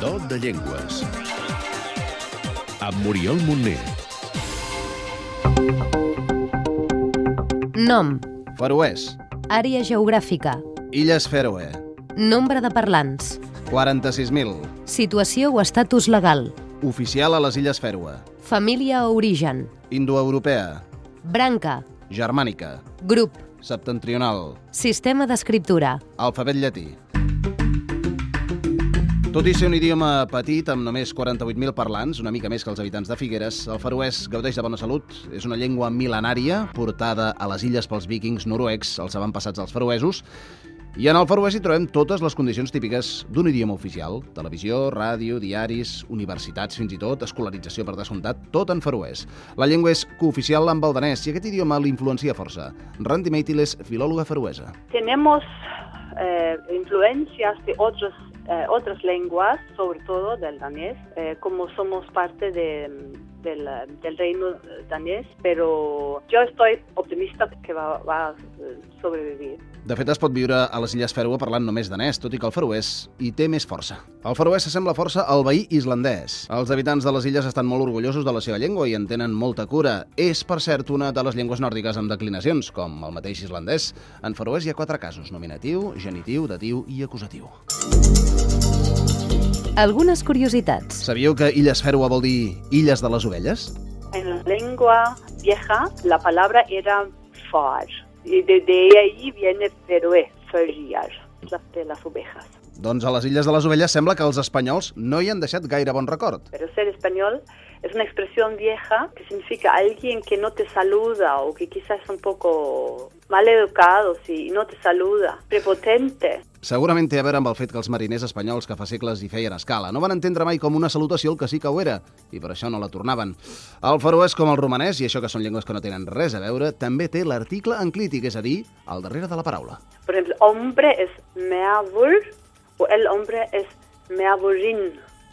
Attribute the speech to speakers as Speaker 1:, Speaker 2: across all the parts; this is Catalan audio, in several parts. Speaker 1: Do de Llengües. Amb Muriel Montner.
Speaker 2: Nom,
Speaker 3: Faroès,
Speaker 2: àrea geogràfica,
Speaker 3: Illes Fèroe,
Speaker 2: nombre de parlants,
Speaker 3: 46.000,
Speaker 2: situació o estatus legal,
Speaker 3: oficial a les Illes Fèroe,
Speaker 2: família o origen,
Speaker 3: indoeuropea,
Speaker 2: branca,
Speaker 3: germànica,
Speaker 2: grup,
Speaker 3: septentrional,
Speaker 2: sistema d'escriptura,
Speaker 3: alfabet llatí. Tot i ser un idioma petit, amb només 48.000 parlants, una mica més que els habitants de Figueres, el faroès gaudeix de bona salut. És una llengua mil·lenària, portada a les illes pels vikings noruecs, els avantpassats dels faroesos, i en el faroès hi trobem totes les condicions típiques d'un idioma oficial. Televisió, ràdio, diaris, universitats fins i tot, escolarització per descomptat, tot en faroès. La llengua és cooficial amb el danès i aquest idioma l'influencia força. Randy Meitil és filòloga faroesa.
Speaker 4: tenemos eh, influencias de otros, eh, otras lenguas, sobre todo del danés, eh, como somos parte de, mm, del, eh, del reino danés, pero yo estoy optimista que va, va a eh, sobrevivir.
Speaker 3: De fet, es pot viure a les Illes Fèroe parlant només danès, tot i que el faroès hi té més força. El faroès s'assembla força al veí islandès. Els habitants de les illes estan molt orgullosos de la seva llengua i en tenen molta cura. És, per cert, una de les llengües nòrdiques amb declinacions, com el mateix islandès. En faroès hi ha quatre casos, nominatiu, genitiu, datiu i acusatiu.
Speaker 2: algunes curiositats.
Speaker 3: Sabíeu que Illes Fèroe vol dir Illes de les Ovelles?
Speaker 4: En la lengua vieja, la palabra era far, y de, de ahí viene feroe, ferriar, las de las ovejas.
Speaker 3: Doncs a les Illes de les Ovelles sembla que els espanyols no hi han deixat gaire bon record.
Speaker 4: Pero ser español es una expresión vieja que significa alguien que no te saluda o que quizás es un poco mal educado si no te saluda, prepotente.
Speaker 3: Segurament té a veure amb el fet que els mariners espanyols que fa segles hi feien escala no van entendre mai com una salutació el que sí que ho era, i per això no la tornaven. El faroès, com el romanès, i això que són llengües que no tenen res a veure, també té l'article enclític, és a dir, al darrere de la paraula.
Speaker 4: Por ejemplo, hombre es meavur o el hombre es meavurin.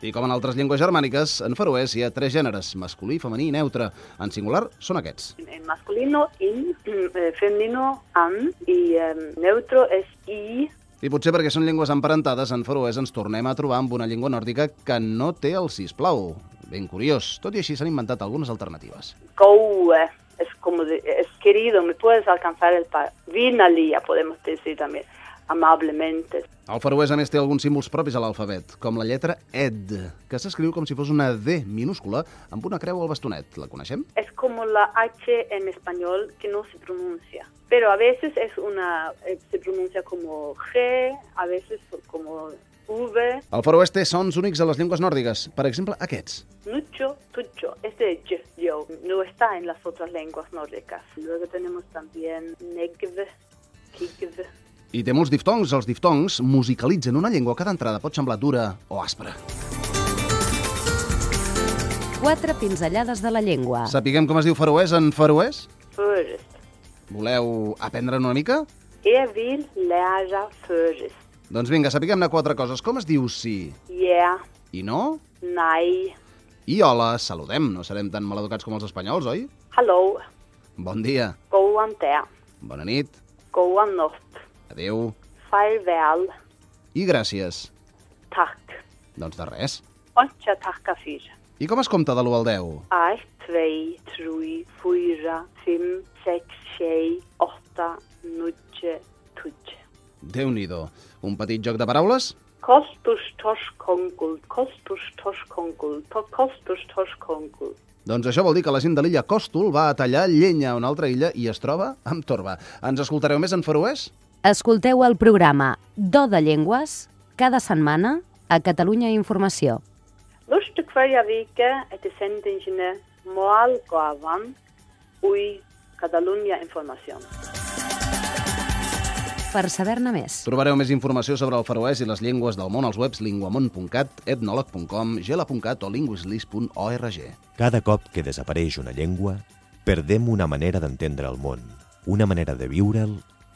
Speaker 3: I com en altres llengües germàniques, en faroès hi ha tres gèneres, masculí, femení i neutre. En singular són aquests.
Speaker 4: En- En masculino, in, eh, femenino, an, y eh, neutro es i.
Speaker 3: I potser perquè són llengües emparentades, en faroès ens tornem a trobar amb una llengua nòrdica que no té el sisplau. Ben curiós. Tot i així s'han inventat algunes alternatives.
Speaker 4: Goue eh. es como de- es querido, me puedes alcanzar el par. Vinalia podemos decir también amablemente.
Speaker 3: El faroès, a més, té alguns símbols propis a l'alfabet, com la lletra ED, que s'escriu com si fos una D minúscula amb una creu al bastonet. La coneixem?
Speaker 4: es como la H en español que no se pronuncia, pero a veces es una eh, se pronuncia como G, a veces como V,
Speaker 3: El faroès té sons únics a les llengües nòrdiques, per exemple, aquests.
Speaker 4: mucho, tucho, es de yo, yo, no está en las otras lenguas nórdicas. Luego tenemos también negv, kigv.
Speaker 3: I té molts diftongs. Els diftongs musicalitzen una llengua que d'entrada pot semblar dura o aspra.
Speaker 2: Quatre pinzellades de la llengua.
Speaker 3: Sapiguem com es diu faroès en faroès?
Speaker 4: Førest.
Speaker 3: Voleu aprendre'n una mica?
Speaker 4: Jeg vil lære førest.
Speaker 3: Doncs vinga, sapiguem-ne quatre coses. Com es diu sí
Speaker 4: Ja,
Speaker 3: i no?
Speaker 4: nei,
Speaker 3: I hola, saludem. No serem tan maleducats com els espanyols, oi?
Speaker 4: hallo,
Speaker 3: Bon dia,
Speaker 4: gåan der,
Speaker 3: bona nit,
Speaker 4: gåan opp,
Speaker 3: adeu
Speaker 4: farvel,
Speaker 3: i gràcies.
Speaker 4: takk.
Speaker 3: Doncs de res.
Speaker 4: Ikke takka fyr.
Speaker 3: I com es compta de l'1 al 10?
Speaker 4: Ett, två, tre, fyra, fem, sex, sju, åtta, nio, tio.
Speaker 3: Déu-n'hi-do. Un petit joc de paraules?
Speaker 4: Kosturs torskongul, kosturs torskongul, to kosturs torskongul.
Speaker 3: Doncs això vol dir que la gent de l'illa Còstol va a tallar llenya a una altra illa i es troba amb torba. Ens escoltareu més en faroès?
Speaker 2: Escolteu el programa Do de Llengües cada setmana a Catalunya Informació.
Speaker 4: Lurste kvarja vike etter sendingene Målgavan ui Catalunya Information.
Speaker 2: Per saber-ne més.
Speaker 3: Trobareu més informació sobre el faroès i les llengües del món als webs linguamont.cat, etnolog.com, gela.cat o linguislis.org.
Speaker 5: Cada cop que desapareix una llengua, perdem una manera d'entendre el món, una manera de viure'l